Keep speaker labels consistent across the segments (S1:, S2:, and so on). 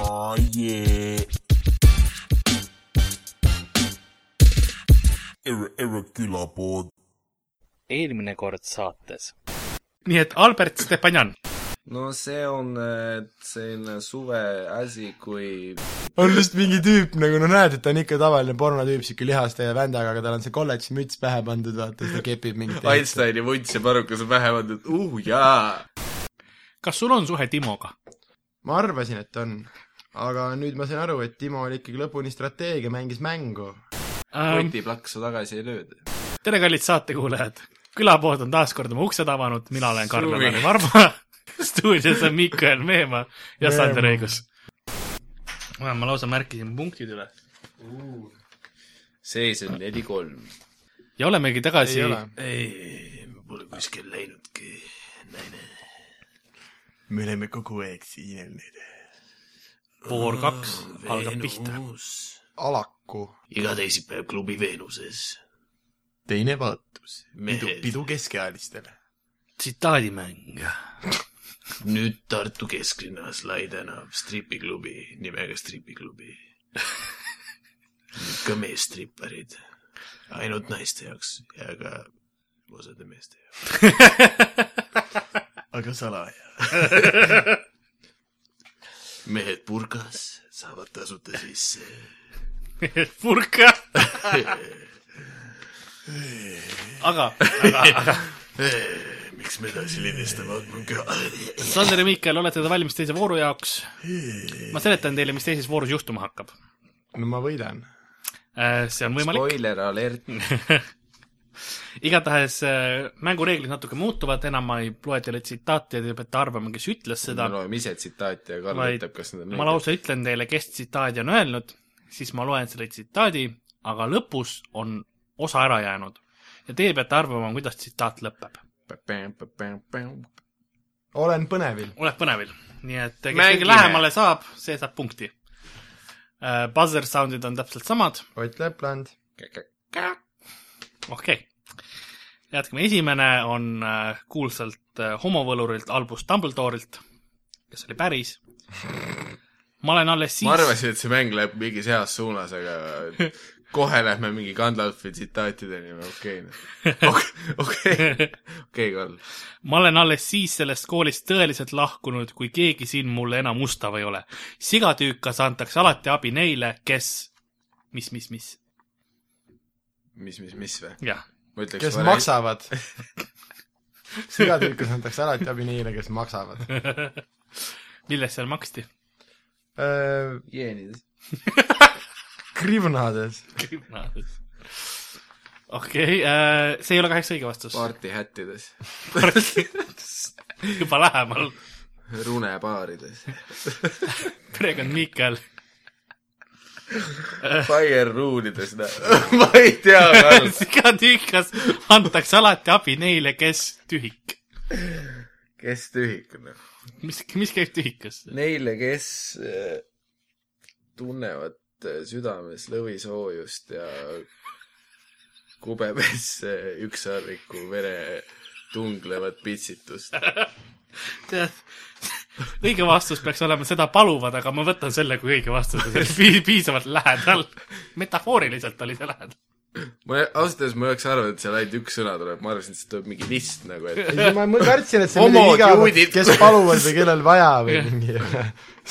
S1: Oh yeah. Erre, erre külapood.
S2: eelmine kord saates .
S3: nii et Albert Stepanjan ,
S4: no see on äh, selline suveasi , kui
S5: on lihtsalt mingi tüüp nagu , no näed , et ta on ikka tavaline pornotüüp , sihuke lihaste ja vändaga , aga tal on see kolledži müts pähe pandud , vaata , seda kepib mingit
S4: Einsteini vunts ja parukas on pähe pandud , uh jaa .
S3: kas sul on suhe Timoga ?
S5: ma arvasin , et on . aga nüüd ma sain aru , et Timo oli ikkagi lõpuni strateegia , mängis mängu .
S4: kotiplaksu tagasi ei lööda .
S3: tere , kallid saatekuulajad . külapood on taas kord oma uksed avanud , mina olen Karl-Lari
S4: Suvi.
S3: Varma . stuudios on Mikael Meemaa ja
S5: Meemaa.
S3: Sander Õigus . ma lausa märkisin punktid üle .
S4: sees on neli-kolm .
S3: ja olemegi tagasi
S5: ei ole .
S4: ei , pole kuskil läinudki .
S5: me oleme kogu aeg siin .
S3: voor kaks algab pihta .
S5: alaku .
S4: iga teisipäev klubi Veenuses .
S5: teine vaatus .
S4: Pidu- Mehed. pidu
S5: keskealistele .
S3: tsitaadimäng .
S4: nüüd Tartu kesklinnas Lai tänav stripiklubi nimega Stripiklubi . ka meestripparid . ainult naiste jaoks ja ka osade meeste jaoks .
S5: aga salaja .
S4: mehed purgas saavad tasuta sisse .
S3: purka . aga
S4: miks me edasi lindistame , on ka .
S3: Sander ja Miikael , olete te valmis teise vooru jaoks ? ma seletan teile , mis teises voorus juhtuma hakkab .
S5: no ma võidan .
S3: see on võimalik .
S4: spoiler alert .
S3: igatahes äh, mängureeglid natuke muutuvad , enam ma ei loe teile tsitaate ja te peate arvama , kes ütles seda
S4: me , loeme ise tsitaati ja Karl
S3: vaid
S4: ütleb , kas need on
S3: ma lausa ütlen teile , kes tsitaadi on öelnud , siis ma loen selle tsitaadi , aga lõpus on osa ära jäänud ja teie peate arvama , kuidas tsitaat lõpeb .
S4: õiged .
S5: olen põnevil .
S3: oled põnevil , nii et kes
S4: Mängime.
S3: kõige lähemale saab , see saab punkti . Buzzer sound'id on täpselt samad ,
S5: Ott Lepland .
S3: okei okay. . jätkame , esimene on äh, kuulsalt äh, homovõlurilt Albus Dumbledore'ilt , kes oli päris . ma olen alles siis ,
S4: ma arvasin , et see mäng läheb mingis heas suunas , aga kohe lähme mingi Gandalfi tsitaatideni või okei okay. . okei , okei , Karl .
S3: ma olen alles siis sellest koolist tõeliselt lahkunud , kui keegi siin mulle enam ustav ei ole . sigatüükas antakse alati abi neile , kes , mis , mis , mis ,
S4: mis , mis , mis või ?
S3: jah .
S4: ma ütleks
S5: kes . maksavad . sigatüükas antakse alati abi neile , kes maksavad .
S3: millest seal maksti ?
S4: jeenides .
S5: Krivnades .
S3: okei äh, , see ei ole kahjuks õige vastus .
S4: partihättides .
S3: juba lähemal
S4: runebaarides .
S3: perekond Miikael
S4: Fireruunides , noh . ma ei tea , Karl .
S3: sigatühikas antakse alati abi neile , kes tühik .
S4: kes tühik , noh .
S3: mis , mis käib tühikasse ?
S4: Neile , kes äh, tunnevad äh, südames lõvisoojust ja kubemesse ükssarviku vere tunglevat pitsitust .
S3: tead , õige vastus peaks olema seda paluvad , aga ma võtan selle kui õige vastuse , see oli pi- piisavalt lähedal . metafooriliselt oli see lähedal .
S4: ma ei- ausalt öeldes ma ei oleks arvanud , et seal ainult üks sõna tuleb , ma arvasin , et see tuleb mingi list nagu , et
S5: ma mõ- kartsin , et see on
S4: Homod,
S5: midagi igavat
S4: juudid. ,
S5: kes paluvad või kellel vaja või mingi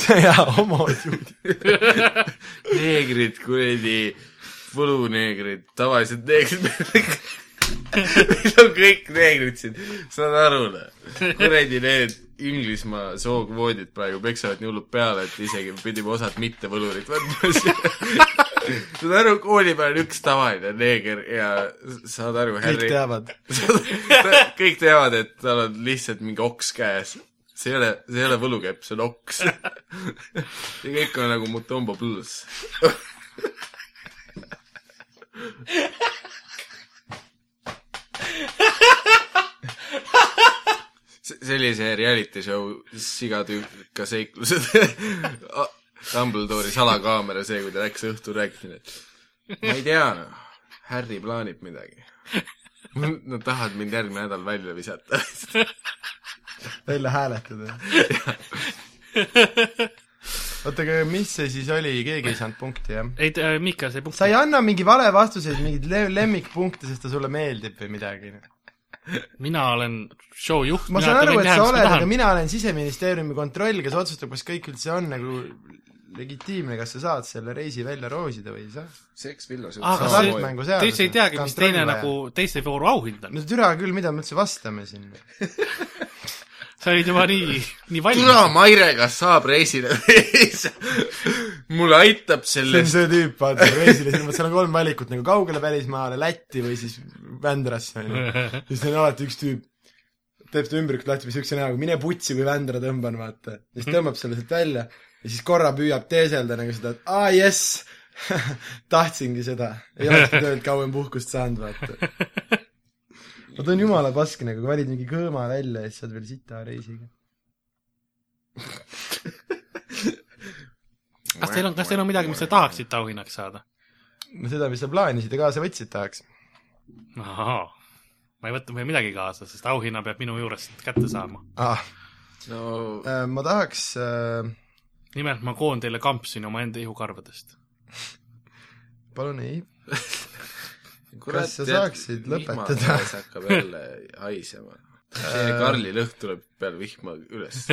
S5: see jaa , homod , juudid .
S4: neegrid , kuradi , võluneegrid , tavalised neegrid . meil on kõik neegrid siin , saad aru , noh . kuradi need Inglismaa sookvoodid praegu peksavad nii hullult peale , et isegi pidime osad mitte võlurid võtma siia . saad aru , kooli peal on üks tavaline neeger ja saad aru ,
S5: kõik
S4: Harry .
S5: teavad .
S4: kõik teavad , et tal on lihtsalt mingi oks käes . see ei ole , see ei ole võlukepp , see on oks . ja kõik on nagu Mutombo Blues . sellise reality show sigatüüka seiklused A- Dumbledore'i salakaamera , see , kui ta läks õhtul rääkima , et ma ei tea , noh , Harry plaanib midagi . Nad tahavad mind järgmine nädal välja visata .
S5: välja hääletada . oota , aga mis see siis oli , keegi ei saanud punkti , jah ?
S3: ei , Miika sai punkti
S5: sa ei . anna mingi vale vastuseid , mingeid le- lemmikpunkte , sest ta sulle meeldib või midagi .
S3: mina olen show juht ,
S5: ma
S3: mina
S5: saan aru ,
S3: võin
S5: et
S3: teha ,
S5: sa
S3: mis ma
S5: oled , aga
S3: tahan .
S5: mina olen Siseministeeriumi kontroll , kes otsustab , kas kõik üldse on nagu legitiimne , kas sa saad selle reisi välja roosida või ei saa .
S4: seks villas .
S3: aga
S5: Sa
S3: see-
S5: oled mängu seaduses.
S3: te üldse ei teagi , mis teine
S5: Kontrollvaja.
S3: nagu teiste vooru auhind on .
S5: no türa küll , mida me üldse vastame siin .
S3: sa olid juba nii , nii valmis .
S4: türa Maire , kas saab reisile või ei saa ? mulle aitab
S5: see on
S4: sellest ,
S5: see tüüp , vaata , reisile , seal on kolm valikut nagu kaugele välismaale , Lätti või siis Vändrasse , onju . siis seal on alati üks tüüp , teeb seda ümbrikut lahti , mis niisuguse näoga , mine putsi , kui Vändra tõmban , vaata . ja siis tõmbab selle sealt välja ja siis korra püüab teeselda nagu seda , et aa jess , tahtsingi seda . ei olekski töölt kauem puhkust saanud , vaata . no ta on jumala paskne , kui valid mingi kõõma välja ja siis saad veel sita reisiga .
S3: kas teil on , kas teil on midagi , mis te tahaksite auhinnaks saada ?
S5: no seda , mis sa plaanisid ja kaasa võtsid , tahaks .
S3: ahaa , ma ei võtnud veel midagi kaasa , sest auhinna peab minu juurest kätte saama .
S5: aa ,
S4: no
S5: ma tahaks äh,
S3: nimelt ma koon teile kampsuni omaenda ihukarvadest .
S5: palun ei ,
S4: kurat,
S5: Kas sa
S4: tead,
S5: saaksid
S4: vihma
S5: lõpetada? Äh.
S4: käes hakkab jälle haisema . see Karli lõhn tuleb peale vihma üles .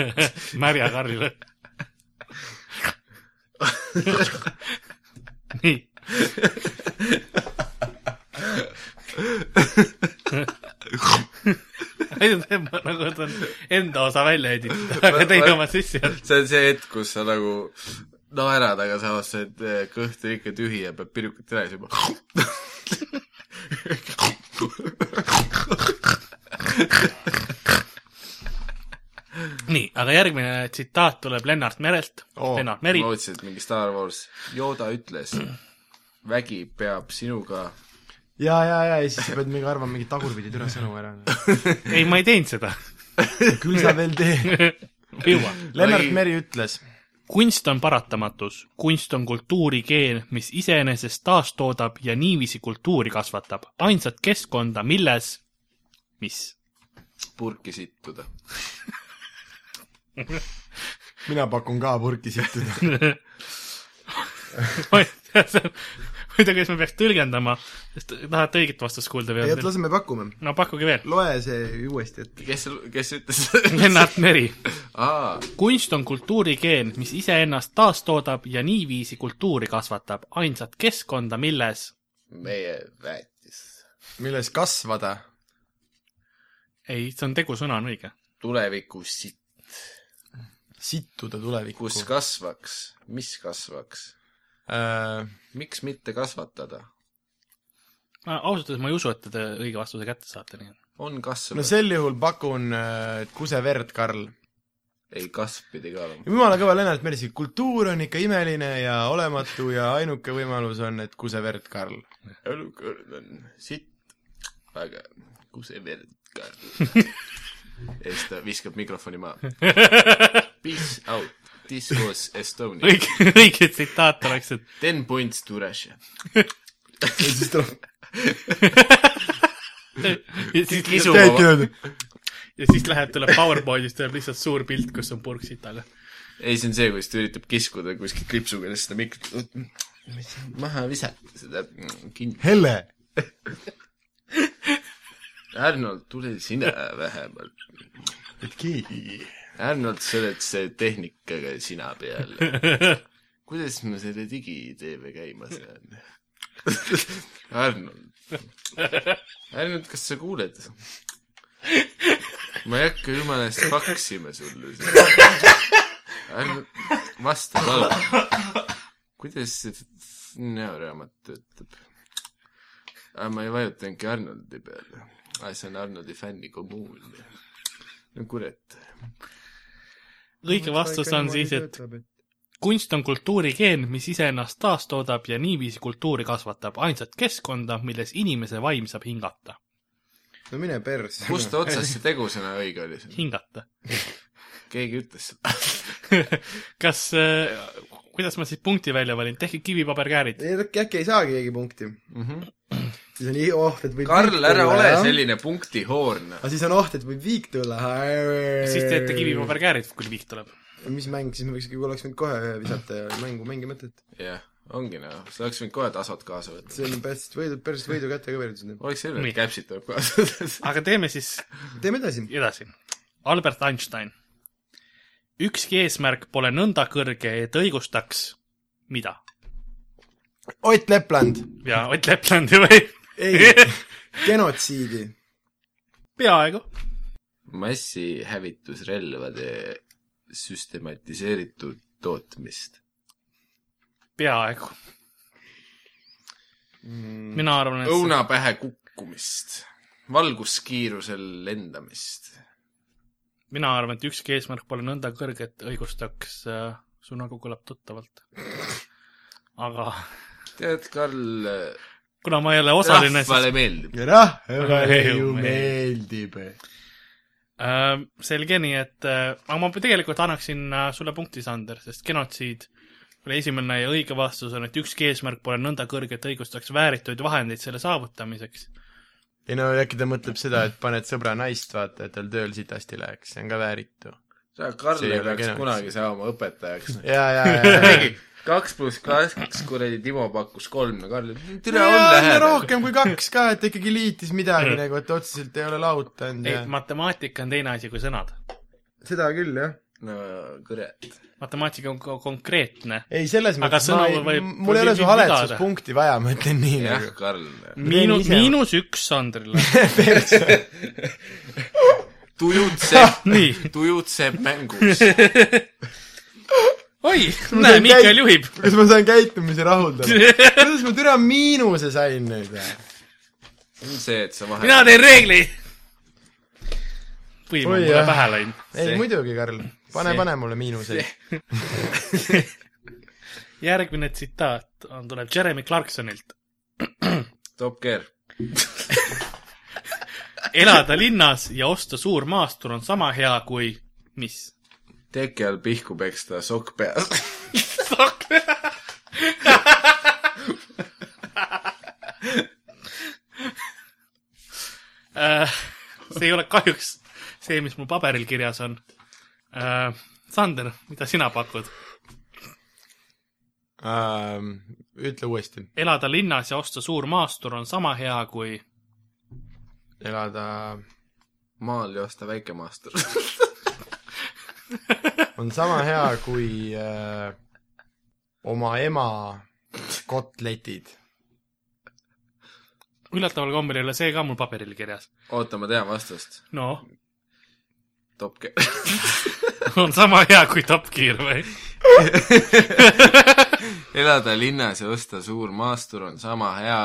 S3: märja karjale . nii , ainult tema nagu ta on enda osa välja editatud , aga teine oma sisse jätnud .
S4: see on see hetk , kus sa nagu naerad , aga samas see et eh, kõht on ikka tühi ja peab pirukat üles juba .
S3: nii , aga järgmine tsitaat tuleb Lennart Merelt
S5: Oo,
S3: oh, . Lennart Meri
S4: ma . mõtlesin , et mingi Star Wars . Yoda ütles , vägi peab sinuga
S5: ja , ja , ja , ja siis sa pead mingi arvama mingi tagurpidi türa sõnu ära .
S3: ei , ma ei teinud seda .
S5: küll sa veel teed .
S3: jõua .
S5: Lennart
S4: Ei.
S5: Meri ütles ,
S3: kunst on paratamatus , kunst on kultuurikeel , mis iseenesest taastoodab ja niiviisi kultuuri kasvatab . ainsat keskkonda , milles , mis ?
S4: purki sittuda .
S5: mina pakun ka purki sittuda .
S3: ma ei tea , see on , ma ei tea , kuidas ma peaks tõlgendama , sest tahate õiget vastust kuulda
S5: ei , oota ,
S3: veel ?
S5: las me pakume .
S3: no pakkuge veel .
S5: loe see uuesti ette .
S4: kes , kes ütles ?
S3: Lennart Meri
S4: aa ,
S3: kunst on kultuurikeel , mis iseennast taastoodab ja niiviisi kultuuri kasvatab , ainsat keskkonda , milles
S4: meie väetis .
S5: milles kasvada ?
S3: ei , see on tegusõna , on õige .
S4: tuleviku sitt ,
S5: sittuda tulevikku .
S4: kus kasvaks , mis kasvaks ,
S5: äh, ?
S4: miks mitte kasvatada ,
S3: ma ausalt öeldes ma ei usu , et te õige vastuse kätte saate , nii et
S4: on kasv
S5: no
S4: no see... ,
S5: sel juhul pakun äh, kuseverd , Karl .
S4: ei kasv pidi ka olema .
S5: jumala kõva Lennart Meri , see kultuur on ikka imeline ja olematu ja ainuke võimalus on , et kuseverd , Karl .
S4: olukord on sitt , aga kus see verd ka . ja siis ta viskab mikrofoni maha . Peace out , this was Estonia ,
S3: õige , õige tsitaat oleks , et
S4: ten points to Russia .
S5: ja siis tuleb
S3: ja siis
S4: Kisu.
S3: kisub
S5: käibki niimoodi .
S3: ja siis läheb , tuleb PowerPointist tuleb lihtsalt suur pilt , kus on purk sitaga .
S4: ei , see on see , kuidas ta üritab kiskuda kuskilt kriipsuga ja siis seda mikrit- , maha visata seda kinni .
S5: Hele ,
S4: Arnold , tule sina vähemalt .
S5: et keegi .
S4: Arnold , sa oled see tehnikaga sina peal . kuidas ma selle digiteeme käima saan ? Arnold . Arnold , kas sa kuuled ? ma ei hakka jumala eest faksima sulle seda . Arnold , vasta palun . kuidas see f- näoraamat töötab ? aa , ma ei vajutanudki Arnoldi peale . aa , see on Arnoldi fännikommuun . no kurat
S3: õige vastus on siis , et kunst on kultuurikeel , mis iseennast taastoodab ja niiviisi kultuuri kasvatab , ainsat keskkonda , milles inimese vaim saab hingata .
S5: no mine persse .
S4: kust otsast see tegusõna õige oli siin ?
S3: hingata .
S4: keegi ütles seda .
S3: kas , kuidas ma siis punkti välja valin , tehke kivipaberkäärid .
S5: ei , äkki ei saa keegi punkti mm .
S4: Mhm.
S5: siis on ih- oht , et võib
S4: Karl ,
S5: viik
S4: ära
S5: tulla,
S4: ole
S5: jah.
S4: selline punktihoorn .
S5: aga siis on oht , et võib viik tulla .
S3: siis teete kivipaberkäärid , kui viik tuleb .
S5: mis mäng , siis me võiks , oleks võinud kohe ühe visata ja mängu mängi mõtet .
S4: jah , ongi noh , sa oleks võinud kohe tasod kaasa võtta .
S5: see on päris võidu , päris võidu kätte ka veeritud nüüd .
S4: oleks selge ,
S3: Nii.
S4: et käpsid tuleb kaasa võtta .
S3: aga teeme siis
S5: teeme edasi .
S3: edasi . Albert Einstein . ükski eesmärk pole nõnda kõrge , et õigustaks mida ?
S5: Ott Lepland .
S3: ja Ott Leplandi või ?
S5: ei , genotsiidi .
S3: peaaegu .
S4: massihävitusrelvade süstematiseeritud tootmist .
S3: peaaegu .
S5: Mm.
S3: mina arvan , et see...
S4: õuna pähe kukkumist , valguskiirusel lendamist .
S3: mina arvan , et ükski eesmärk pole nõnda kõrge , et õigustaks äh, , su nagu kõlab tuttavalt . aga
S4: tead , Karl ,
S3: kuna ma ei ole osaline , siis
S4: rahvale meeldib .
S5: rahvale ju meeldib .
S3: äh, selge nii , et äh, aga ma tegelikult annaksin äh, sulle punkti , Sander , sest genotsiid oli esimene ja õige vastus on , et ükski eesmärk pole nõnda kõrge , et õigustaks väärituid vahendeid selle saavutamiseks .
S5: ei no äkki ta mõtleb seda , et paned sõbra naist , vaata , et tal tööl sitasti läheks , see on ka vääritu .
S4: sa ,
S5: See
S4: Karl ,
S5: ei
S4: ei
S5: ole
S4: peaks
S5: kena.
S4: kunagi saama õpetajaks .
S5: ja , ja , ja , ja .
S4: kaks pluss kaks , kuradi Timo pakkus kolm ja Karl ütles ,
S5: ja
S4: tere , on
S5: on
S4: lähedal .
S5: rohkem kui kaks ka , et ta ikkagi liitis midagi nagu , et otseselt ei ole lautanud
S3: Mm. ei ,
S5: ja
S3: matemaatika on teine asi kui sõnad .
S5: seda küll , jah .
S4: no kurat .
S3: matemaatika on ko- konkreetne .
S5: ei , selles
S3: Aga
S5: mõttes ma
S3: sõna
S5: ei ,
S3: võib-
S5: mul ei ole su
S3: võib
S5: haletsuspunkti vaja , ma ütlen nii
S4: jah
S5: nagu .,
S4: Karl . eh,
S3: miinus ,
S5: ise-
S3: miinus üks Sandrile .
S4: tujutseb ,
S3: nii ,
S4: tujutseb mängus .
S3: oi , näe , Mihkel juhib .
S5: kas ma saan käitumise rahuldada ? kuidas ma türa miinuse sain nüüd ?
S4: see , et sa vahel
S3: mina teen reegli . või ma
S5: Oi,
S3: olen mulle
S5: jah.
S3: pähe läinud .
S5: ei
S4: See-
S5: muidugi , Karl , pane ,
S4: see-
S5: pane mulle miinuseid .
S3: järgmine tsitaat on , tuleb Jeremy Clarksonilt .
S4: Top Gear .
S3: elada linnas ja osta suur maastur on sama hea kui mis ?
S4: teki all pihku peksta , sokk peas .
S3: Äh, see ei ole kahjuks see , mis mul paberil kirjas on . Sander , mida sina pakud ?
S5: Ütle uuesti ,
S3: elada linnas ja osta suur maastur on sama hea kui
S5: elada
S4: maal ja osta väike maastur .
S5: on sama hea kui äh, oma ema kotletid .
S3: üllataval kombel ei ole see ka mul paberil kirjas .
S4: oota , ma tean vastust .
S3: no ,
S4: Top Gear .
S3: on sama hea kui Top Gear või ?
S4: elada linnas ja osta suur maastur on sama hea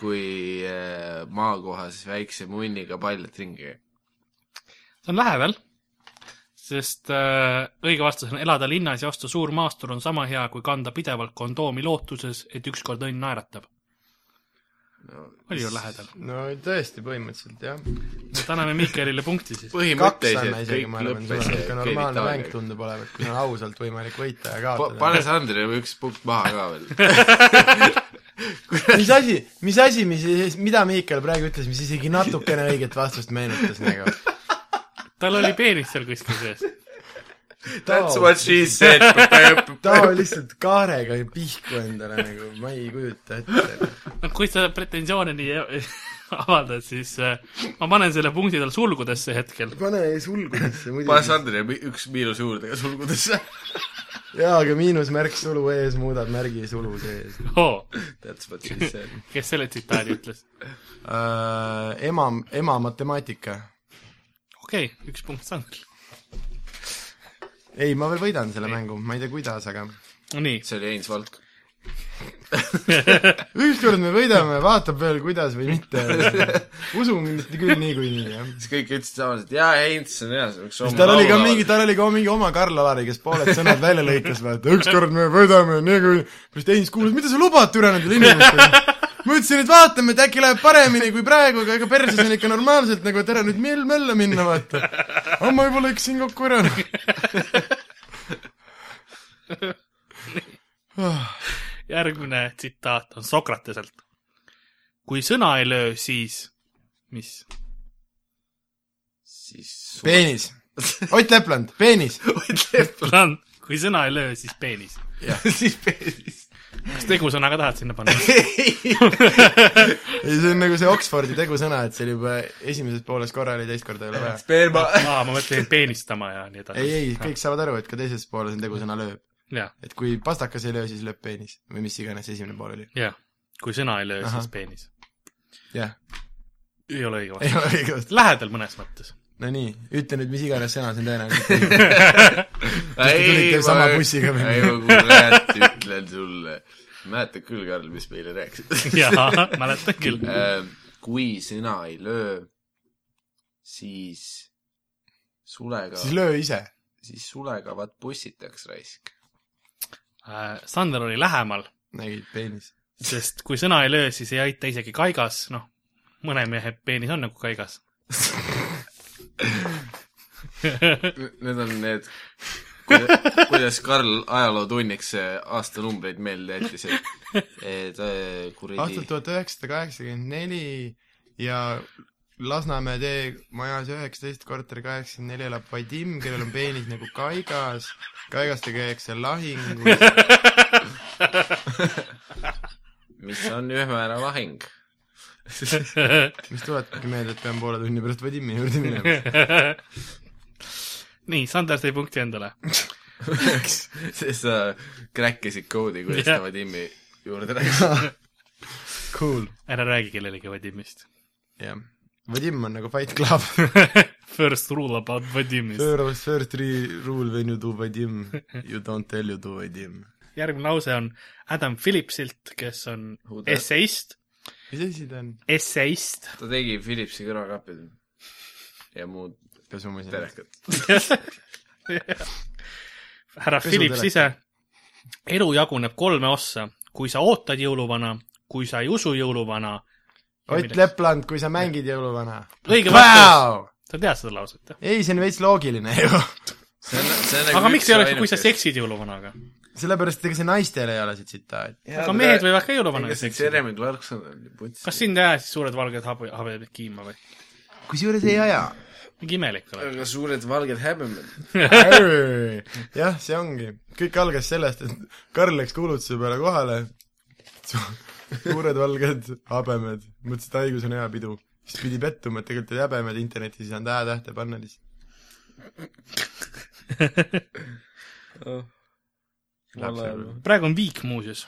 S4: kui äh, maakohas väikse munniga paljalt ringi .
S3: see on lähedal , sest äh, õige vastus on elada linnas ja osta suur maastur on sama hea kui kanda pidevalt kondoomi lootuses , et ükskord õnn naeratab .
S4: no,
S3: oli ju lähedal .
S5: no tõesti , põhimõtteliselt jah .
S3: et anname Mihkelile punkti siis .
S5: kaks anna
S4: põhimõtteliselt
S5: isegi ,
S4: kõik
S5: ma arvan , see on
S4: lõppes
S5: niisugune normaalne mäng
S4: genitaaliaga .
S5: tundub olevat , kui on ausalt võimalik võita ja
S4: pane
S5: kaotada .
S4: Sandrile üks punkt maha ka veel .
S5: mis asi , mis asi , mis , mida Mihkel praegu ütles , mis isegi natukene õiget vastust meenutas nagu ?
S3: tal oli peenis seal kuskil sees .
S4: That's what she said .
S5: Taavo lihtsalt kaarega pihku endale nagu , ma ei kujuta ette .
S3: no kui sa pretensioone nii e- avaldad , siis äh, ma panen selle punkti tal sulgudesse hetkel .
S5: pane sulgudesse
S4: pane
S5: muidugi .
S4: Sandrile mi- üks miinus juurde ka sulgudesse .
S5: jaa , aga miinusmärk sulu ees muudab märgi sulu sees uh, .
S4: That's what she said .
S3: kes selle tsitaadi ütles ?
S5: Äh, ema , ema matemaatika .
S3: okei okay, , üks punkt saanud .
S5: ei , ma veel võidan selle mängu , ma ei tea , kuidas , aga
S3: Nonii ,
S4: see oli Heinz Valk .
S5: ükskord me võidame , vaatab veel , kuidas või mitte . usun mind küll niikuinii , jah .
S4: siis kõik ütlesid samas , et jaa , Heinz on hea , see võiks
S5: siis tal oli ka mingi , tal oli ka mingi oma Karl Alari , kes pooled sõnad välja lõikas , vaata , ükskord me võidame niikuinii , siis Heinz kuulas , mida sa lubad türa nendele inimestele . ma ütlesin , et vaatame , et äkki läheb paremini kui praegu , aga ega perses on ikka normaalselt nagu , et ära nüüd mell mölla minna , vaata . aga ma juba lõikasin kokku ära .
S3: järgmine tsitaat on Sokrateselt . kui sõna ei löö , siis mis ?
S4: siis
S5: peenis . Ott Lepland , peenis .
S3: plan , kui sõna ei löö , siis peenis .
S4: siis peenis .
S3: kas tegusõna ka tahad sinna panna ?
S5: ei , see on nagu see Oxfordi tegusõna , et seal juba esimeses pooles korra oli , teist korda ei ole vaja .
S4: sperma .
S3: aa , ma mõtlesin peenistama ja nii edasi .
S5: ei , ei , kõik saavad aru , et ka teises pooles on tegusõna lööb .
S3: jah ,
S5: et kui pastakas ei löö , siis lööb peenis või mis iganes see esimene pool oli .
S3: jah . kui sõna ei löö ,
S5: Ahah.
S3: siis peenis .
S5: jah ,
S3: ei ole õige
S5: ei
S3: vastus .
S5: ole õige vastus .
S3: lähedal mõnes mõttes .
S5: no nii , ütle nüüd , mis iganes sõna see on tõenäoliselt . tulite
S4: ei ,
S5: sama bussiga või?
S4: ei , ma kurat ütlen sulle . mäletad küll , Karl , mis meile rääkisid ?
S3: jaa , mäletan küll .
S4: kui sina ei löö , siis sulega ,
S5: siis löö ise .
S4: siis sulega vaat pussitaks raisk .
S3: Äh, Sander oli lähemal ,
S5: nägid , peenis .
S3: sest kui sõna ei löö , siis ei aita isegi kaigas , noh , mõne mehe peenis on nagu kaigas .
S4: Need on need , kuidas Karl ajalootunniks eh, aastanumbreid meelde jättis , et , et eh, kuradi
S5: aastal , tuhat üheksasada kaheksakümmend neli ja Lasnamäe tee majas üheksateist , korter kaheksakümmend neli elab Vadim , kellel on peenis nagu kaigas , kaigastega käiakse lahingus ,
S4: mis on ühemäära lahing .
S5: mis tuletabki meelde , et pean poole tunni pärast Vadimi juurde minema .
S3: nii , Sander sai punkti endale .
S4: sest sa äh, kräkkisid koodi , kuidas
S3: Jah.
S4: ta Vadimi juurde läks .
S5: Cool ,
S3: ära räägi kellelegi Vadimist .
S5: jah . Vadim on nagu Fight Club .
S3: First rule about Vadimist .
S5: First , first re- rule when you do Vadim , you don't tell you do Vadim .
S3: järgmine lause on Adam Phillipsilt , kes on
S4: Who that?
S3: esseist ,
S5: mis asi ta on ?
S3: esseist .
S4: ta tegi Philipsi kõrvakapid ja muud
S5: pesumasin .
S4: telekat .
S3: härra
S5: Pesu
S3: Philips
S5: teleka.
S3: ise . elu jaguneb kolme ossa , kui sa ootad jõuluvana , kui sa ei usu jõuluvana .
S5: Ott Lepland , kui sa mängid jõuluvana .
S3: õige vastus ,
S5: Wow!
S3: sa tead seda lauset , jah ?
S5: ei , see on veits loogiline ju
S4: see on , see on nagu
S3: aga miks ei oleks , kui sa seksid jõuluvanaga ?
S5: sellepärast , et ega see naistel ei ole see tsitaat .
S3: aga mehed võivad ka jõuluvanaga
S4: kas see
S3: seksida .
S4: Jeremy Clarkson on nii putsi ?
S3: kas sind ei aja siis suured valged habe , habemad kiima või ?
S5: kusjuures ei aja .
S3: mingi imelik oled .
S4: aga suured valged häbemed .
S5: jah , see ongi . kõik algas sellest , et Karl läks kuulutuse peale kohale Su , suured valged habemed , mõtles , et haigus on hea pidu . siis pidi pettuma , et tegelikult olid häbemed internetis , ei saanud häätähte panna lihtsalt .
S3: Oh.
S5: Lapsepõlve.
S3: praegu on viik muuseus .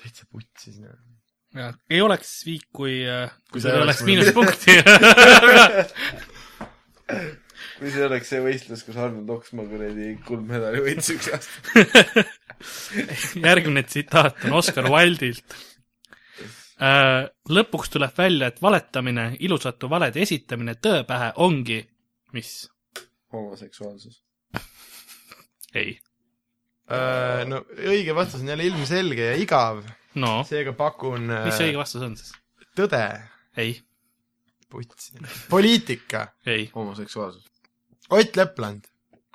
S5: täitsa putsis . noh.
S3: ei oleks viik , kui , kui sul
S5: sa ei
S3: ei
S5: oleks
S3: oleks
S5: muidugi.
S3: miinuspunkti .
S4: kui see oleks see võistlus , kus Arnold Oksmaa kuradi kuldmedali võitis üks aasta .
S3: järgmine tsitaat on Oscar Wilde'ilt . lõpuks tuleb välja , et valetamine , ilusatu valede esitamine tõe pähe ongi , mis ?
S4: homoseksuaalsus .
S3: ei .
S5: Äh, no õige vastus on jälle ilmselge ja igav ,
S3: no ,
S5: seega pakun äh,
S3: mis see õige vastus on siis ?
S5: tõde .
S3: ei ,
S5: putsi . poliitika .
S3: ei ,
S4: homoseksuaalsus .
S5: Ott Lepland .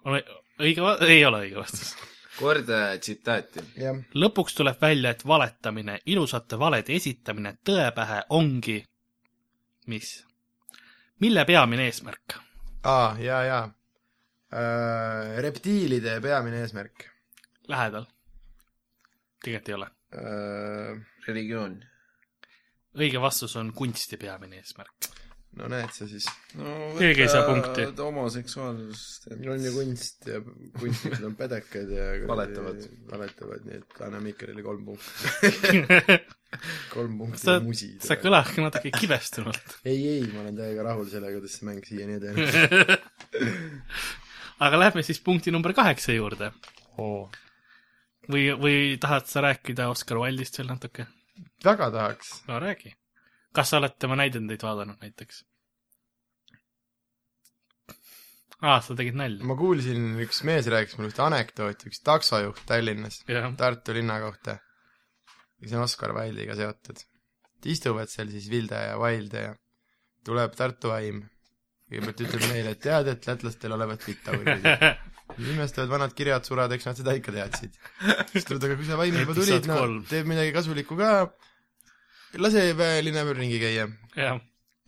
S3: õige , ei ole õige vastus .
S4: korda tsitaati .
S5: jah .
S3: lõpuks tuleb välja , et valetamine , ilusate valede esitamine tõe pähe ongi , mis ? mille peamine eesmärk ?
S5: aa , jaa , jaa äh, . reptiilide peamine eesmärk
S3: lähedal . tegelikult ei ole .
S5: äh, .
S4: religioon .
S3: õige vastus on kunsti peamine eesmärk .
S5: no näed sa siis ,
S3: Keegi ei saa punkti.
S4: homoseksuaalsust .
S5: on ju kunst ja kunstnikud on pädekad ja
S4: Valetavad. ,
S5: valetavad , nii et anname Mikalile kolm punkti , kolm punkti
S3: sa
S5: ja , musi .
S3: sa . kõlad ka natuke kibestunult ,
S5: ei , ei , ma olen täiega rahul sellega , kuidas see mäng siiani edeneb .
S3: aga lähme siis punkti number kaheksa juurde või , või tahad sa rääkida Oscar Wilde'ist veel natuke ?
S5: väga tahaks ,
S3: no räägi . kas sa oled tema näidendeid vaadanud näiteks ? aa , sa tegid nalja ?
S5: ma kuulsin , üks mees rääkis mulle ühte anekdooti , üks taksojuht Tallinnas ,
S3: jah ,
S5: Tartu linna kohta , mis on Oscar Wilde'iga seotud . istuvad seal siis Vilde ja Wilde ja tuleb Tartu vaim . kõigepealt ütleb neile , et tead , et lätlastel olevat littaurid . imestavad vanad kirjad surad , eks nad seda ikka teadsid . siis tuleb ta , aga kui sa vaim juba
S3: Episood
S5: tulid , no
S3: kolm.
S5: teeb midagi kasulikku ka , lase pea- linna peal ringi käia .
S3: jah ,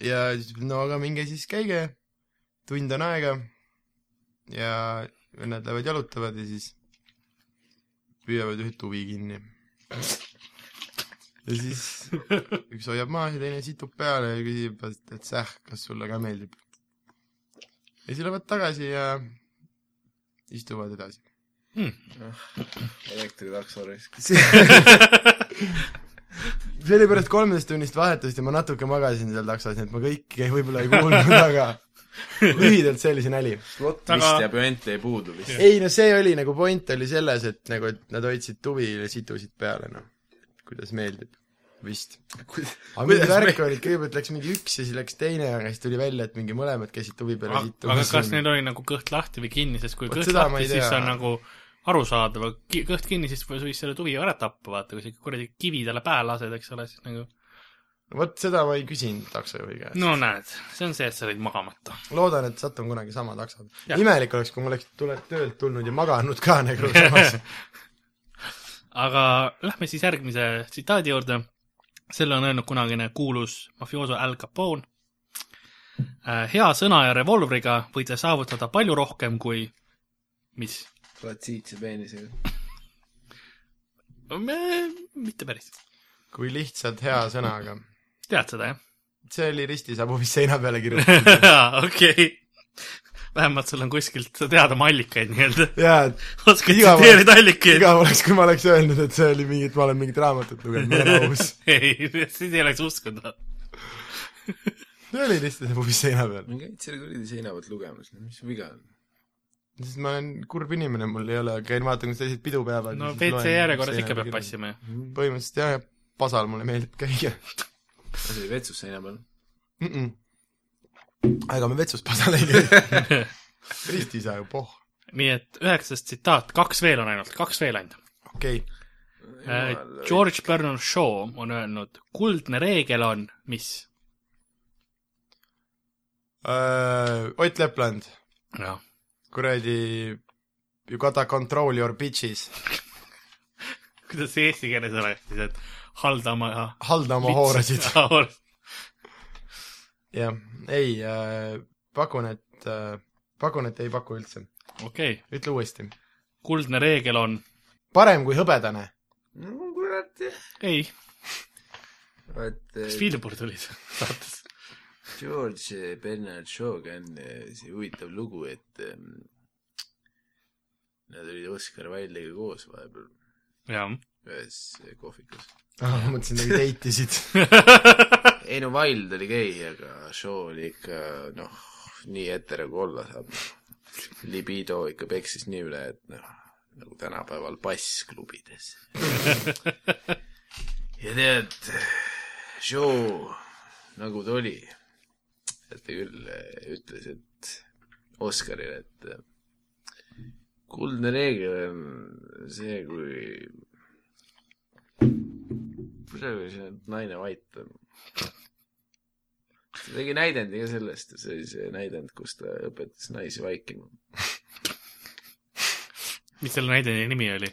S5: ja siis , no aga minge siis käige , tund on aega . ja vennad lähevad jalutavad ja siis püüavad ühe tuvi kinni . ja siis üks hoiab maas ja teine situb peale ja küsib , et säh , kas sulle ka meeldib . ja siis lähevad tagasi ja istuvad edasi .
S4: elektritakso risk .
S5: sellepärast kolmeteist tunnist vahetust ja ma natuke magasin seal taksos , nii et ma kõike võib-olla ei kuulnud , aga lühidalt see oli see nali .
S4: plott
S3: Aga-
S4: vist ja püante ei puudu vist .
S5: ei no see oli nagu point oli selles , et nagu , et nad hoidsid tuvi ja situsid peale noh , kuidas meeldib , vist . aga mingi värk oli , et kõigepealt läks mingi üks ja siis läks teine , aga siis tuli välja , et mingi mõlemad käisid tuvi peal ja
S3: aga kas
S5: situsid .
S3: neil oli nagu kõht lahti või kinni , sest kui
S5: Vot
S3: kõht
S5: seda ma
S3: lahti ,
S5: ei
S3: siis
S5: tea.
S3: on nagu arusaadav , aga ki- kõht kinni , siis võis võis selle tuvi ju ära tappa , vaata , kui sa ikka kuradi kivi talle pähe lased , eks ole , siis nagu
S5: vot seda ma ei küsinud taksojuhi käest no. .
S3: no näed , see on see , et sa olid magamata .
S5: loodan , et satun kunagi sama takso
S3: Jah.
S5: peale . imelik oleks , kui ma oleks tule- , töölt tulnud ja maganud ka nagu samas .
S3: aga lähme siis järgmise tsitaadi juurde . selle on öelnud kunagine kuulus mafiooso Al Capone . hea sõna ja revolvriga võite saavutada palju rohkem kui , mis ?
S4: platsiitse peenisega .
S3: mitte päris .
S5: kui lihtsalt hea sõnaga .
S3: tead seda , jah ?
S5: see oli ristisabu , mis seina peale kirjutati .
S3: okei . vähemalt sul on kuskilt teada oma allikaid nii-öelda .
S5: jaa , et
S3: oskad
S5: Igav-
S3: tsiteerida allikaid ?
S5: igav oleks , kui ma oleks öelnud , et see oli mingi , et ma olen mingit raamatut lugenud , ma olen aus .
S3: ei , siis ei oleks uskunud .
S5: see oli lihtsalt see pubis seina peal .
S4: ma käin selle kuradi seina pealt lugemas , mis viga on ?
S5: sest ma olen kurb inimene , mul ei ole , käin vaatan , kuidas teised pidu peavad .
S3: no WC järjekorras ikka peab . passima ju .
S5: põhimõtteliselt jah , pasal mulle meeldib käia
S4: see oli vetsus seina peal .
S5: mm . -mm. aga me vetsus pasal ei käi . ristiisa ju , poh .
S3: nii et üheksas tsitaat , kaks veel on ainult , kaks veel ainult .
S5: okei okay. ,
S3: Äh, George Bernard Shaw on öelnud , kuldne reegel on , mis ?
S5: Äh, Ott Lepland ,
S3: jah .
S5: kuradi You gotta control your bitches ,
S3: kuidas see eesti keeles oleks siis , et haldama ja
S5: halda oma hoorasid . jah , ei äh, , pakun , et äh, , pakun , et ei paku üldse .
S3: okei ,
S5: ütle uuesti .
S3: kuldne reegel on ,
S5: parem kui hõbedane .
S4: no kurat jah .
S3: ei ,
S4: vaat
S3: kas
S4: eh,
S3: Filipur tuli saates ?
S4: George Bernard Shaw'ga on eh, see huvitav lugu , et ehm, nad olid Oscar Wilde'iga koos vahepeal
S3: jah .
S4: ühes kohvikus .
S5: Ah, ma mõtlesin , et date isid .
S4: ei no Wild oli gei , aga Shaw oli ikka noh , nii hetero kui olla saab . libido ikka peksis nii üle , et noh , nagu tänapäeval passklubides . ja tead , Shaw , nagu ta oli , et ta küll eh, ütles , et Oscarile , et eh, kuldne reegel on see , kui praegu see naine vait on . ta tegi näidendi ka sellest , see oli see näidend , kus ta õpetas naisi vaikima .
S3: mis selle näidendi nimi oli ?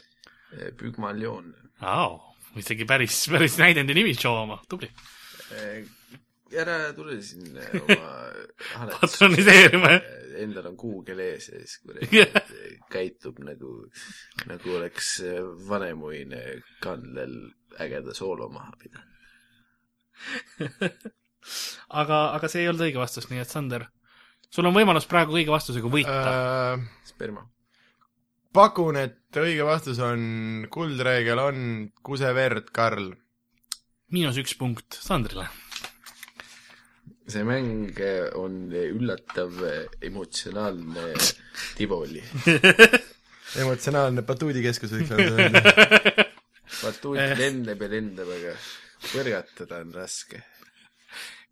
S4: Eh, Pygmalion .
S3: Au , isegi päris , päris näidendi nimi Shaw oma , tubli .
S4: Eh, ära tule siin eh, oma haletusele .
S3: patroniseerima , jah ?
S4: Endal on Google ees ja siis kuradi
S3: Jah.
S4: eh, käitub nagu , nagu oleks vanemuine kandlel ägeda soolo maha pidanud .
S3: aga , aga see ei olnud õige vastus , nii et Sander , sul on võimalus praegu õige vastusega võita .
S5: Äh.
S4: sperma .
S5: pakun , et õige vastus on , kuldreegel on kuseverd , Karl .
S3: miinus üks punkt Sandrile .
S4: see mäng eh, on üllatav eh, emotsionaalne Tivoli .
S5: emotsionaalne batuudikeskus võiks olla see .
S3: Eh.
S4: batuut lendab ja lendab , aga põrgatada on raske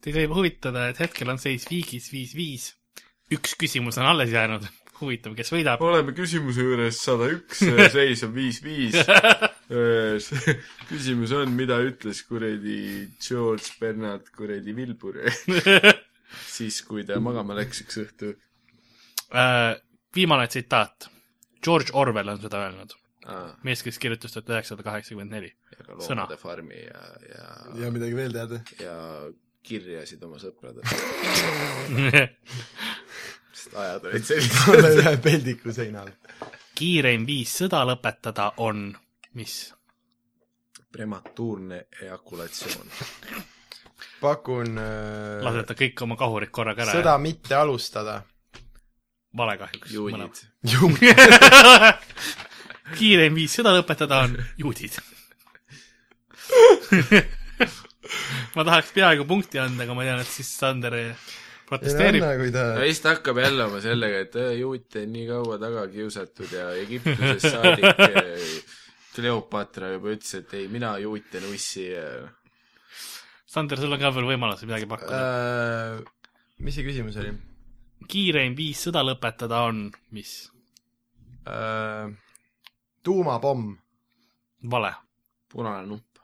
S3: Teid võib huvitada , et hetkel on seis viigis viis-viis . üks küsimus on alles jäänud . huvitav , kes võidab ?
S4: oleme küsimuse juures sada üks , seis on viis-viis . küsimus on , mida ütles kuradi George Bernard kuradi Wilbur siis , kui ta magama läks üks õhtu .
S3: Äh, viimane tsitaat . George Orwell on seda öelnud .
S4: aa ,
S3: mees , kes kirjutas tuhat üheksasada kaheksakümmend neli .
S4: ja ka
S3: Sõna.
S4: loomade farmi ja , ja ,
S5: ja midagi veel teada ?
S4: ja kirjasid oma sõpradele . sest ajad olid sellised .
S5: alla ühe peldiku seina all .
S3: kiireim viis sõda lõpetada on , mis ?
S4: prematuurne ejakulatsioon .
S5: pakun äh,
S3: laseta kõik oma kahurid korraga ära
S5: sõda mitte alustada .
S3: ja vale kahjuks .
S4: juunid .
S3: kiireim viis sõda lõpetada on juudid . ma tahaks peaaegu punkti anda , aga ma tean , et siis Sander protesteerib .
S5: kui ta
S4: no siis ta hakkab jälle oma sellega , et äh, juute on nii kaua taga kiusatud ja Egiptusest saadik äh, Cleopatra juba ütles , et ei , mina juuten ussi ja eh,
S3: Sander , sul on ka veel võimalus midagi pakkuda .
S5: äh, mis see küsimus oli
S3: kiireim viis sõda lõpetada on , mis ?
S5: äh, ? tuumapomm .
S3: vale .
S4: punane nupp .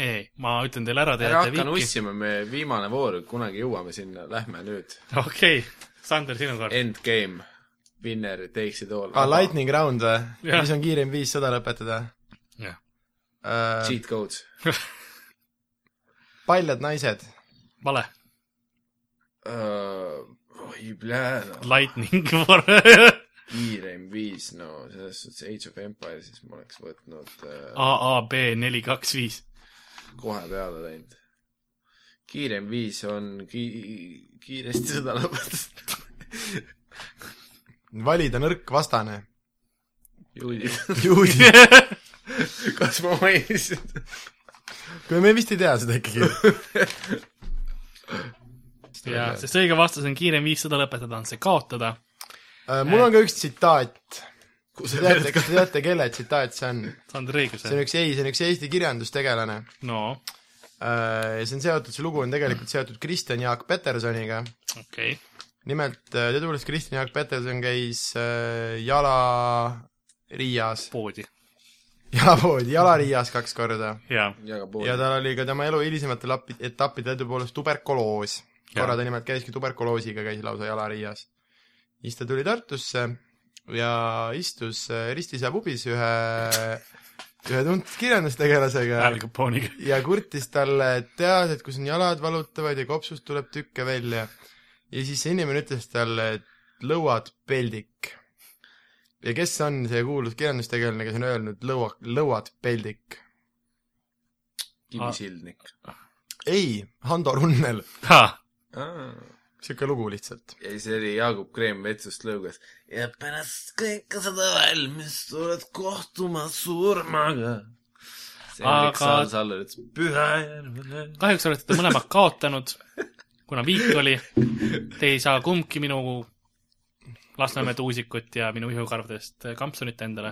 S3: ei , ma ütlen teile ära , te
S4: ära
S3: jääte
S4: hakka
S3: viiki .
S4: nussima , me viimane voor , kunagi jõuame sinna , lähme nüüd .
S3: okei okay. , Sander , sinu kord .
S4: Endgame , winner takes it all .
S5: aa , Ah, lightning round või ?
S3: Jah.
S5: mis on kiireim viis sõda lõpetada
S3: Jah. ?
S5: Äh,
S4: Cheat codes
S5: paljad naised .
S3: vale .
S4: uh, . oi , plää- ,
S3: Lightning for
S4: kiireim viis , no selles suhtes Age of Empires , siis ma oleks võtnud uh,
S3: AAB neli , kaks , viis .
S4: kohe peale läinud . kiireim viis on ki- , kiiresti sõda lõpetada .
S5: valida nõrk vastane .
S4: juudid ,
S5: juudi .
S4: kas ma mainisin ?
S5: kuule , me vist ei tea seda ikkagi .
S3: jaa , sest õige vastus on kiirem viis sõda lõpetada , on see kaotada .
S5: Äh, mul on ka üks tsitaat .
S4: kus
S5: Te
S4: sa
S5: teate ,
S4: tead ,
S5: kas te teate , kelle tsitaat see on ?
S3: Sander
S5: see on
S3: õiguse .
S5: üks , ei , see on üks Eesti kirjandustegelane .
S3: no
S5: ja see on seotud , see lugu on tegelikult seotud Kristjan Jaak Petersoniga .
S3: okei okay. ,
S5: nimelt , äh, teadupoolest Kristjan Jaak Peterson käis äh, jala Riias ,
S3: poodi .
S5: jalapoodi , jalariias kaks korda
S3: jaa ,
S4: jagab poole .
S5: ja tal oli ka tema elu hilisematel api- etappidel tõepoolest tuberkuloos . korra ta nimelt käiski tuberkuloosiga , käis lausa jalariias . siis ta tuli Tartusse ja istus äh, Ristisa pubis ühe , ühe tuntud kirjandustegelasega
S3: Al Capone'iga .
S5: ja kurtis talle , et tead , et kui sul jalad valutavad ja kopsust tuleb tükke välja . ja siis see inimene ütles talle , et lõuad peldik . ja kes on see kuulus kirjandustegelane , kes on öelnud lõua , lõuad peldik ?
S4: kivisildnik .
S5: ei , Hando Runnel ,
S4: ei ,
S5: sihuke lugu lihtsalt .
S4: see oli Jaagup Kreem vetsust lõugas . ja pärast kõike seda valmis tuled kohtuma surmaga . Hendrik
S3: Aga-
S4: Saal-Saller ütles Pühajärvele .
S3: kahjuks olete te mõlemad kaotanud , kuna viik oli . Te ei saa kumbki minu Lasnamäe tuusikut ja minu ihukarvadest kampsunit endale .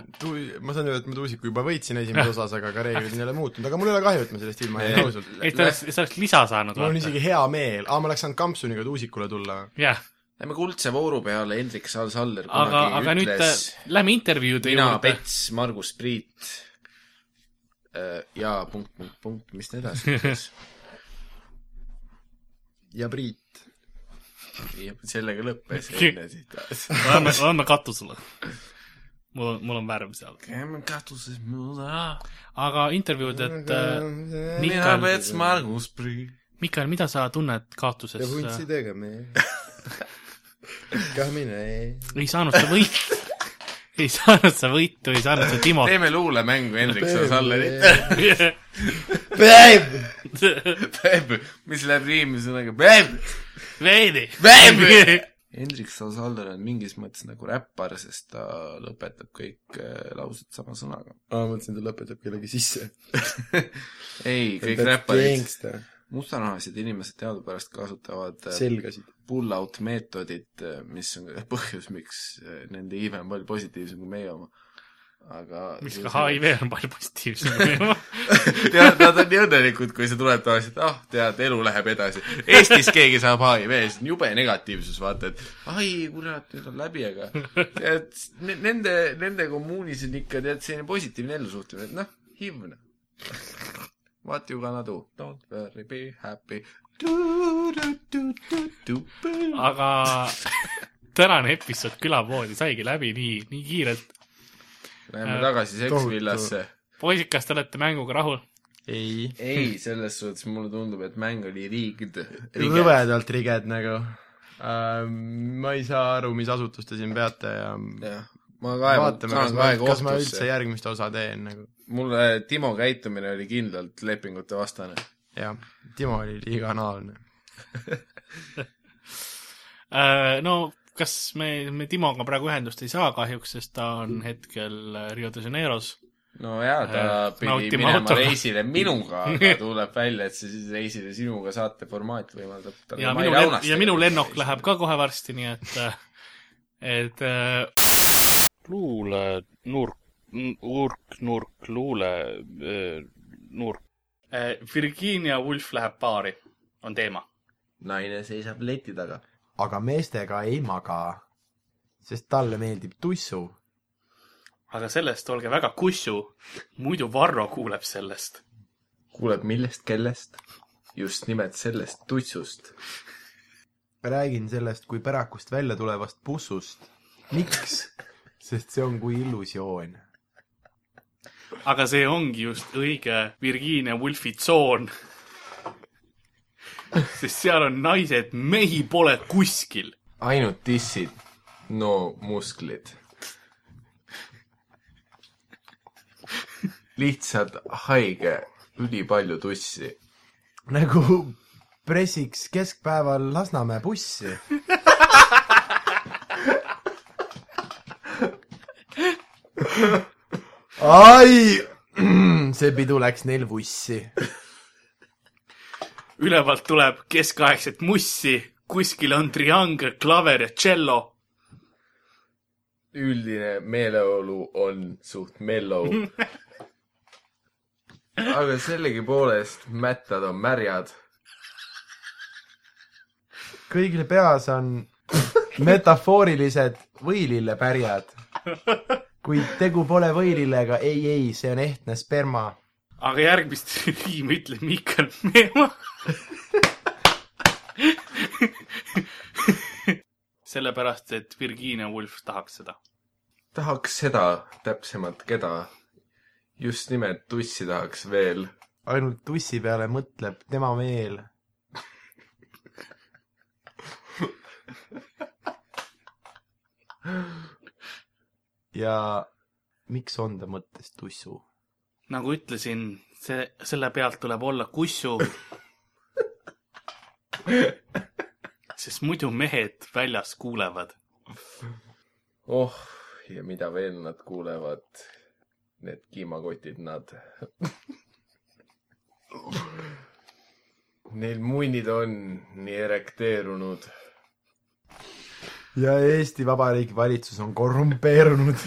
S5: ma saan öelda , et ma Tuusiku juba võitsin esimeses osas , aga ka reeglid ei ole muutunud , aga mul ei ole kahju , et ma sellest ilma jäin ausalt .
S3: ei , te oleks , te oleks lisa saanud
S5: mul on . isegi hea meel , aa , ma oleks saanud kampsuniga Tuusikule tulla .
S3: jah ,
S4: Lähme kuldse vooru peale , Hendrik Saal-Saller kunagi
S3: aga , aga nüüd äh,
S4: ütles
S3: lähme intervjuude
S4: mina ,
S3: juurde .
S4: Pets , Margus , Priit äh, ja punkt , punkt , punkt , mis ta edasi ütles
S5: ja Priit .
S4: ja sellega lõppes enne tsitaat .
S3: anna , anna katusele . mul on , mul on värv seal .
S4: käime katuses mööda .
S3: aga intervjuud , et äh,
S4: mina
S3: Mikael- ,
S4: Pets , Margus , Priit .
S3: Mikael , mida sa tunned kaotuses ?
S5: ja vuntsidega me kah mine .
S3: ei saanud sa võitu , ei saanud sa võitu , ei saanud sa Timot .
S4: teeme luulemängu Hendrik Saal-Sallerit .
S5: Babe !
S4: Peep , mis läheb riimi sõnaga Peep .
S3: veidi .
S4: Veebi! Hendrik Saal-Saller on mingis mõttes nagu räppar , sest ta lõpetab kõik äh, laused sama sõnaga .
S5: aa , ma mõtlesin , ta lõpetab kellegi sisse .
S4: ei , kõik räpparid , mustanahalised inimesed teadupärast kasutavad äh,
S5: selgasid .
S4: pull-out meetodit , mis on ka põhjus , miks nende iive on palju positiivsem kui meie oma . aga
S3: miks ka HIV on palju positiivsem .
S4: tead , nad on nii õnnelikud , kui see tuleb tavaliselt , ah oh, tead , elu läheb edasi . Eestis keegi saab HIV , see on jube negatiivsus , vaata , et ai kurat , nüüd on läbi , aga tead , nende , nende kommuunis on ikka tead selline positiivne ellusuhtumine , et noh , HIV noh . What you gonna do ? Don't worry , be happy .
S3: aga tänane episood külapoodi saigi läbi nii , nii kiirelt . Äh,
S4: Läheme tagasi seksvillasse
S3: poisid , kas te olete mänguga rahul ?
S5: ei .
S4: ei , selles suhtes mulle tundub , et mäng oli riigd .
S5: rõvedalt riged nagu . ma ei saa aru , mis asutust te siin peate ja
S4: jah , ma kaevan ,
S5: vaatame ,
S4: saan
S5: kas ma
S4: kaega ,
S5: kas ma üldse
S4: kohtusse .
S5: järgmist osa teen nagu .
S4: mulle Timo käitumine oli kindlalt lepingute vastane .
S5: jah , Timo oli liiga anaalne .
S3: Äh, no kas me , me Timoga praegu ühendust ei saa kahjuks , sest ta on hetkel Rio de Janeiros .
S4: no jaa , ta
S3: Eh,
S4: pidi
S3: nautima
S4: minema
S3: autoga.
S4: reisile minuga , aga tuleb välja , et see siis reisile sinuga saate formaat võimaldab talle
S3: ja
S4: Mai
S3: minu ,
S4: Launaste
S3: ja minu
S4: juurde
S3: lennuk
S4: reisida.
S3: läheb ka kohe varsti , nii et , et äh,
S2: luule , nurk , urk , nurk , luule , nurk .
S3: äh, Virginia Woolf läheb baari , on teema .
S4: naine seisab leti taga .
S5: aga meestega ei maga , sest talle meeldib tussu .
S3: aga sellest olge väga kussu , muidu Varro kuuleb sellest .
S4: kuuleb millest , kellest ? just nimelt sellest tutsust .
S5: räägin sellest kui pärakust välja tulevast bussust . miks ? sest see on kui illusioon .
S3: aga see ongi just õige Virginia Woolfi tsoon . sest seal on naised , mehi pole kuskil .
S4: ainult tissid , no musklid . lihtsalt haige , ülipalju tussi .
S5: nagu pressiks keskpäeval Lasnamäe bussi . ai , see pidu läks neil vussi .
S3: ülevalt tuleb keskaegset mussi , kuskil on triangel , klaver ja tšello
S4: üldine meeleolu on suht mellow . aga sellegipoolest mättad on märjad .
S5: kõigil peas on metafoorilised võilillepärjad . kuid tegu pole võilillega , ei , ei , see on ehtne sperma .
S3: aga järgmist riimi ütleb Mihkel Meemaa . sellepärast , et Virginia Woolf tahaks seda .
S4: tahaks seda , täpsemalt keda . just nimelt tussi tahaks veel .
S5: ainult tussi peale mõtleb tema meel . ja miks on ta mõttes tussu ?
S3: nagu ütlesin , see , selle pealt tuleb olla kussu . sest muidu mehed väljas kuulevad .
S4: oh , ja mida veel nad kuulevad . Need kiimakotid , nad . Neil munnid on nii erekteerunud
S5: ja Eesti Vabariigi valitsus on korrumpeerunud .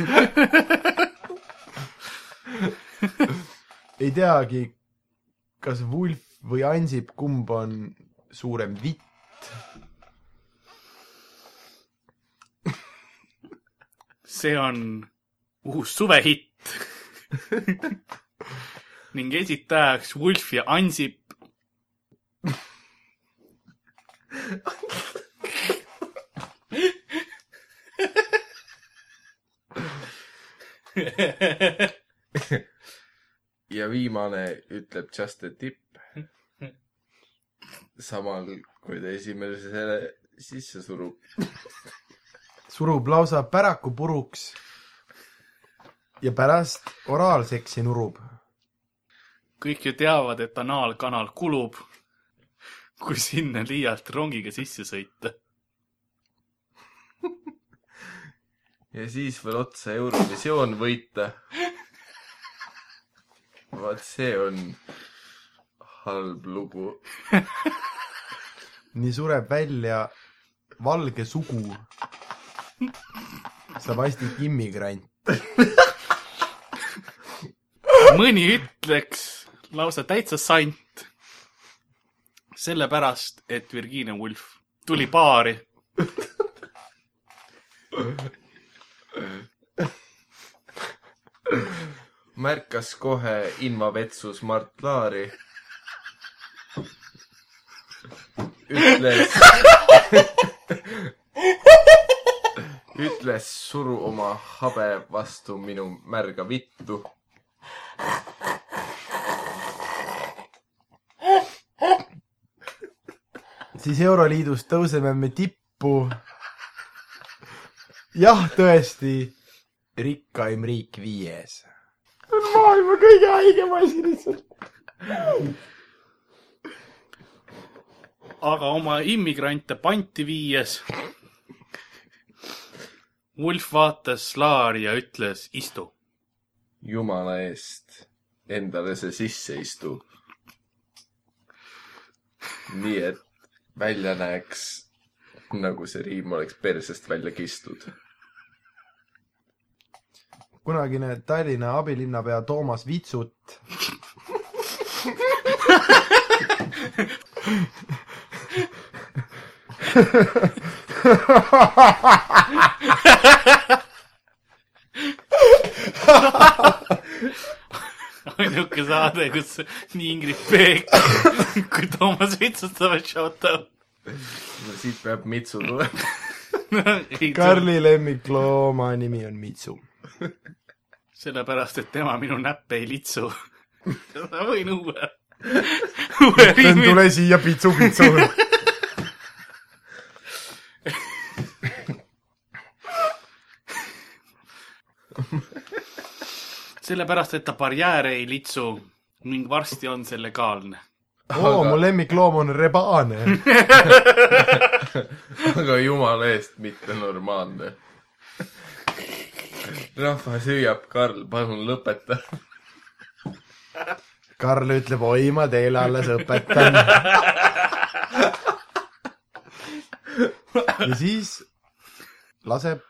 S5: ei teagi , kas Wulf või Ansip , kumb on suurem vitt .
S3: see on uus suvehitt . ning esitajaks Wolf ja Ansip .
S4: ja viimane ütleb just a tip . samal , kui ta esimene selle sisse surub .
S5: surub lausa päraku puruks ja pärast oraalseksi nurub .
S3: kõik ju teavad , et anaalkanal kulub , kui sinna liialt rongiga sisse sõita .
S4: ja siis veel otsa Eurovisioon võita . vaat see on halb lugu .
S5: nii sureb välja valge sugu . saab vastik immigrant .
S3: mõni ütleks lausa täitsa sant . sellepärast , et Virginia Woolf tuli baari
S4: märkas kohe invavetsus Mart Laari . ütles , ütles suru oma habe vastu minu märga vittu .
S5: siis Euroliidus tõuseme me tippu lippu . jah , tõesti , rikkaim riik viies . see on maailma kõige haigem asi lihtsalt .
S3: aga oma immigrante panti viies . Wolf vaatas Laari ja ütles istu .
S4: jumala eest endale see sisse istu . nii et välja näeks nagu see riim oleks persest välja kistud .
S5: kunagine Tallinna abilinnapea Toomas Vitsut
S3: ainuke saade , kus nii Ingrid Peek kui Toomas Vitsutavad shout out .
S4: siit peab mitsu tulema .
S5: Karli lemmiklooma nimi on Mitsu .
S3: sellepärast , et tema minu näppe ei litsu . ma võin uue , uue riimi
S5: tule siia , pitsu , pitsu .
S3: sellepärast , et ta barjääre ei litsu ning varsti on see legaalne .
S5: oo , mu lemmikloom on rebane .
S4: aga jumala eest mitte normaalne . rahvas hüüab , Karl , palun lõpeta .
S5: Karl ütleb , oi , ma teile alles õpetan . ja siis laseb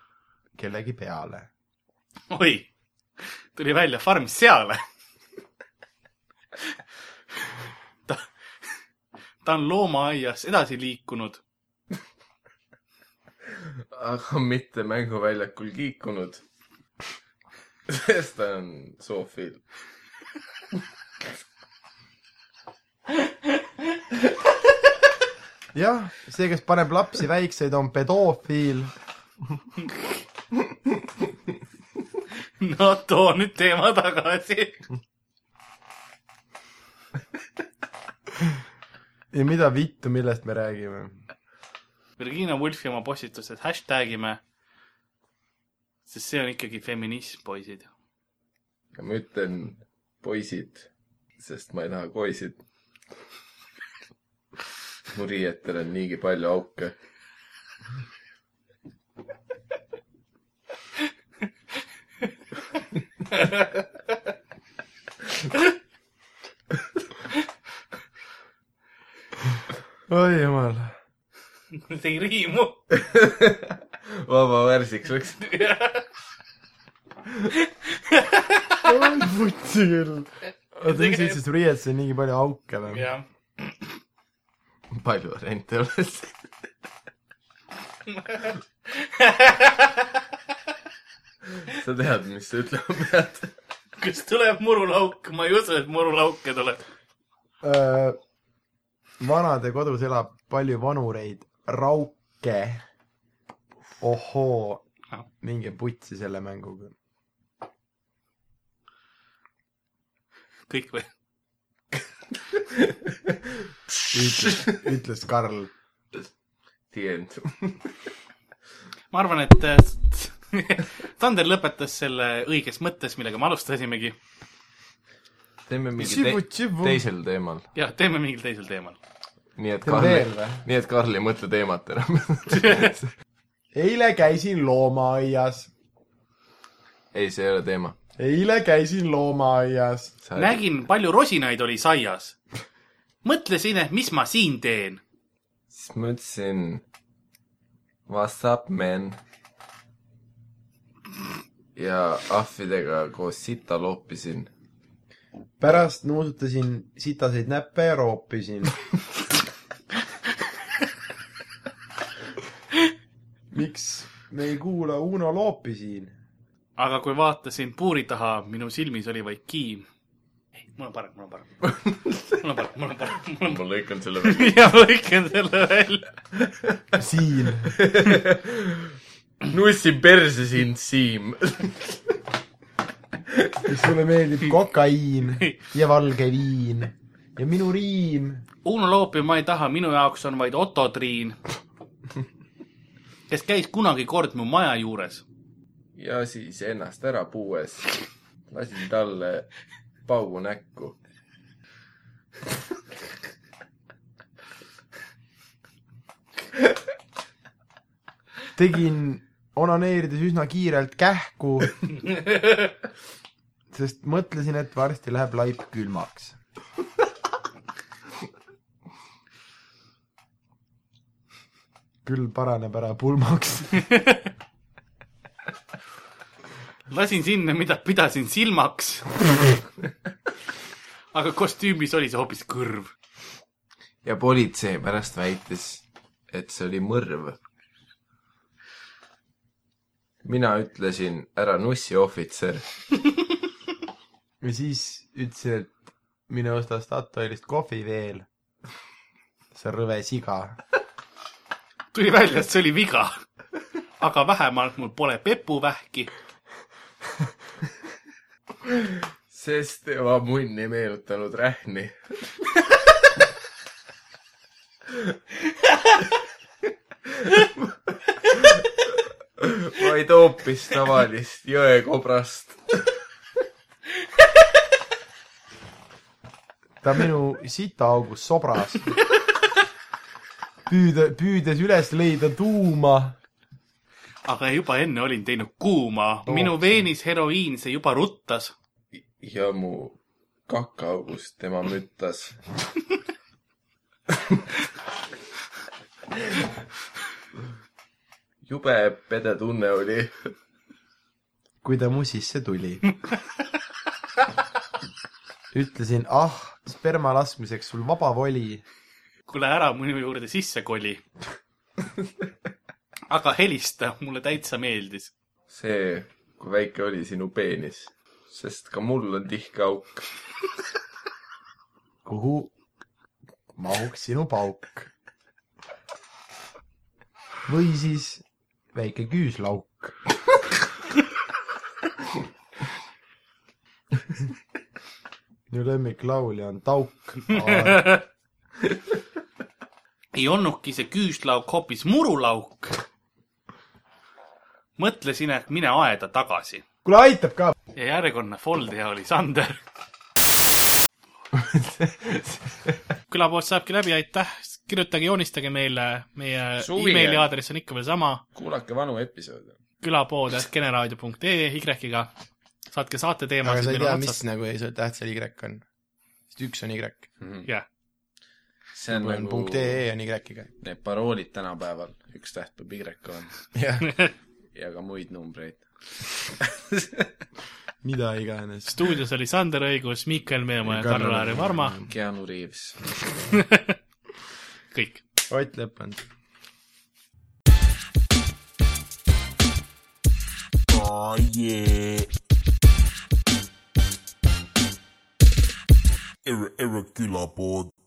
S5: kellegi peale .
S3: oi , tuli välja farm seale . ta , ta on loomaaias edasi liikunud .
S4: aga mitte mänguväljakul kiikunud . sest ta on soofil .
S5: jah , see , kes paneb lapsi väikseid , on pedoofiil .
S3: no too nüüd teema tagasi .
S5: ja mida vittu , millest me räägime ?
S3: Virginia Woolfi oma postitused hashtag ime . sest see on ikkagi feminism , poisid .
S4: ja ma ütlen poisid , sest ma ei taha koisid . mu riietel on niigi palju auke .
S5: oi jumal .
S3: see ei riimu .
S4: vaba värsiks läks .
S5: oi , vutsi küll . oota , mis sa ütlesid , et riietus on niigi palju auke või ?
S3: jah ,
S4: palju variante oleks . sa tead , mis sa ütlema pead ?
S3: kas tuleb murulauk , ma ei usu , et murulauke tuleb .
S5: Äh, vanade kodus elab palju vanureid , rauke . ohoo , minge putsi selle mänguga .
S3: kõik või ?
S5: ütles , ütles Karl .
S4: The end .
S3: ma arvan , et äh, Sander lõpetas selle õiges mõttes , millega me alustasimegi .
S4: teeme mingi
S5: Tšibu,
S4: te
S5: tšibu.
S4: teisel teemal .
S3: jah , teeme mingil teisel teemal .
S4: nii et
S5: Teeme
S4: Karl
S5: veel või? ,
S4: nii et Karl ei mõtle teemat enam .
S5: eile käisin loomaaias ,
S4: ei , see ei ole teema .
S5: eile käisin loomaaias .
S3: nägin , palju rosinaid oli saias . mõtlesin , et mis ma siin teen .
S4: siis ma ütlesin , what's up man ? ja ahvidega koos sita loopisin .
S5: pärast nuusutasin sitaseid näppe ja roopisin . miks me ei kuula Uno Loopi siin ?
S3: aga kui vaatasin puuri taha , minu silmis oli vaid kiim . ei , mul on parem , mul on parem . mul on parem , mul on parem , mul on
S4: ma lõikan selle välja .
S3: parem . ja lõikan selle välja .
S5: siin .
S4: nussin perse sind , Siim .
S5: kas sulle meeldib kokaiin ja valge viin ja minu riim ?
S3: Uno Loopi ma ei taha , minu jaoks on vaid Otto Triin . kes käis kunagi kord mu maja juures .
S4: ja siis ennast ära puues lasin talle paugu näkku .
S5: tegin onaneerides üsna kiirelt kähku , sest mõtlesin , et varsti läheb laip külmaks . küll paraneb ära pulmaks .
S3: lasin sinna , mida pidasin silmaks . aga kostüümis oli see hoopis kõrv .
S4: ja politsei pärast väitis , et see oli mõrv . mina ütlesin , ära nussi , ohvitser .
S5: ja siis ütlesin , et mine osta Statoilist kohvi veel . see rõve siga .
S3: tuli välja , et see oli viga . aga vähemalt mul pole pepuvähki .
S4: sest tema munn ei meenutanud rähni . vaid hoopis tavalist jõekobrast .
S5: ta minu sitaaugust sobras . püüda , püüdes üles leida tuuma .
S3: aga juba enne olin teinud kuuma . minu veenis heroiin , see juba ruttas .
S4: ja mu kakaaugust tema müttas . jube pede tunne oli
S5: kui ta mu sisse tuli . ütlesin , ah , sperma laskmiseks sul vaba voli .
S3: kuule ära minu juurde sisse koli . aga helista , mulle täitsa meeldis .
S4: see , kui väike oli sinu peenis , sest ka mul on tihke auk .
S5: kuhu mahuks sinu pauk ? või siis väike küüslauk . minu lemmiklaulja on Tauk .
S3: ei olnudki see küüslauk hoopis murulauk . mõtlesin , et mine aeda tagasi
S5: kuule , aitab ka .
S3: ja järjekordne foldeja oli Sander . külapood saabki läbi , aitäh , kirjutage , joonistage meile , meie
S4: Suvige.
S3: emaili aadress on ikka veel sama ,
S4: kuulake vanu episoode .
S3: külapood generaadio.ee Y-ga . saatke
S5: aga
S3: saateteemasid ,
S5: sa ei
S3: meil
S5: tea ,
S3: on
S5: mis
S3: otsas .
S5: nagu ei- tähtsal Y on . sest üks on Y ,
S3: jah ,
S4: see on
S5: on
S4: nagu
S5: punkt E. ee on Y-ga .
S4: need paroolid tänapäeval , üks täht peab Y-ga olema
S5: jah ,
S4: ja ka muid numbreid .
S5: mida iganes .
S3: stuudios oli Sander Õigus , Miikael Meemaa ja Karl-Laari Varma ,
S4: Keanu Reaves .
S3: kõik .
S5: Ott Leppand .
S1: Oh yeah. Ir- irregular board.